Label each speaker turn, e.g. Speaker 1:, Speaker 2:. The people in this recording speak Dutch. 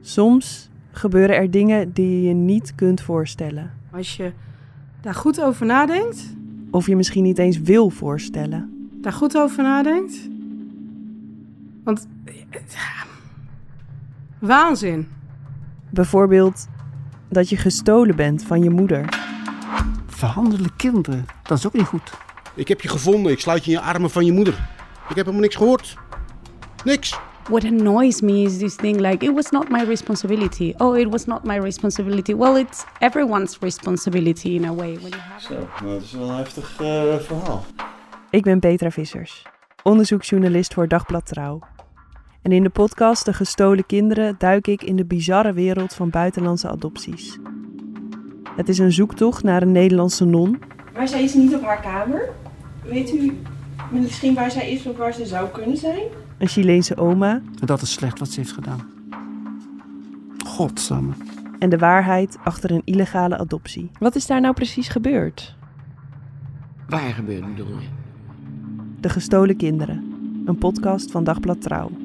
Speaker 1: Soms gebeuren er dingen die je niet kunt voorstellen.
Speaker 2: Als je daar goed over nadenkt,
Speaker 1: Of je misschien niet eens wil voorstellen.
Speaker 2: daar goed over nadenkt. Want. ja, Waanzin.
Speaker 1: Bijvoorbeeld dat je gestolen bent van je moeder.
Speaker 3: Verhandelen kinderen, dat is ook niet goed.
Speaker 4: Ik heb je gevonden. Ik sluit je in je armen van je moeder. Ik heb helemaal niks gehoord. Niks.
Speaker 5: What annoys me is this thing like, it was not my responsibility. Oh, it was not my responsibility. Well, it's everyone's responsibility in a way. When you have
Speaker 6: Zo, nou, dat is wel een heftig eh, verhaal.
Speaker 1: Ik ben Petra Vissers, onderzoeksjournalist voor Dagblad Trouw. En in de podcast De Gestolen Kinderen duik ik in de bizarre wereld van buitenlandse adopties. Het is een zoektocht naar een Nederlandse non
Speaker 7: Maar zij is niet op haar kamer. Weet u misschien waar zij is of waar ze zou kunnen zijn?
Speaker 1: Een Chileense oma
Speaker 3: En dat is slecht wat ze heeft gedaan. Godsamme.
Speaker 1: en de waarheid achter een illegale adoptie.
Speaker 8: Wat is daar nou precies gebeurd?
Speaker 9: Waar gebeurt bedoel je?
Speaker 1: De Gestolen Kinderen, een podcast van Dagblad Trouw.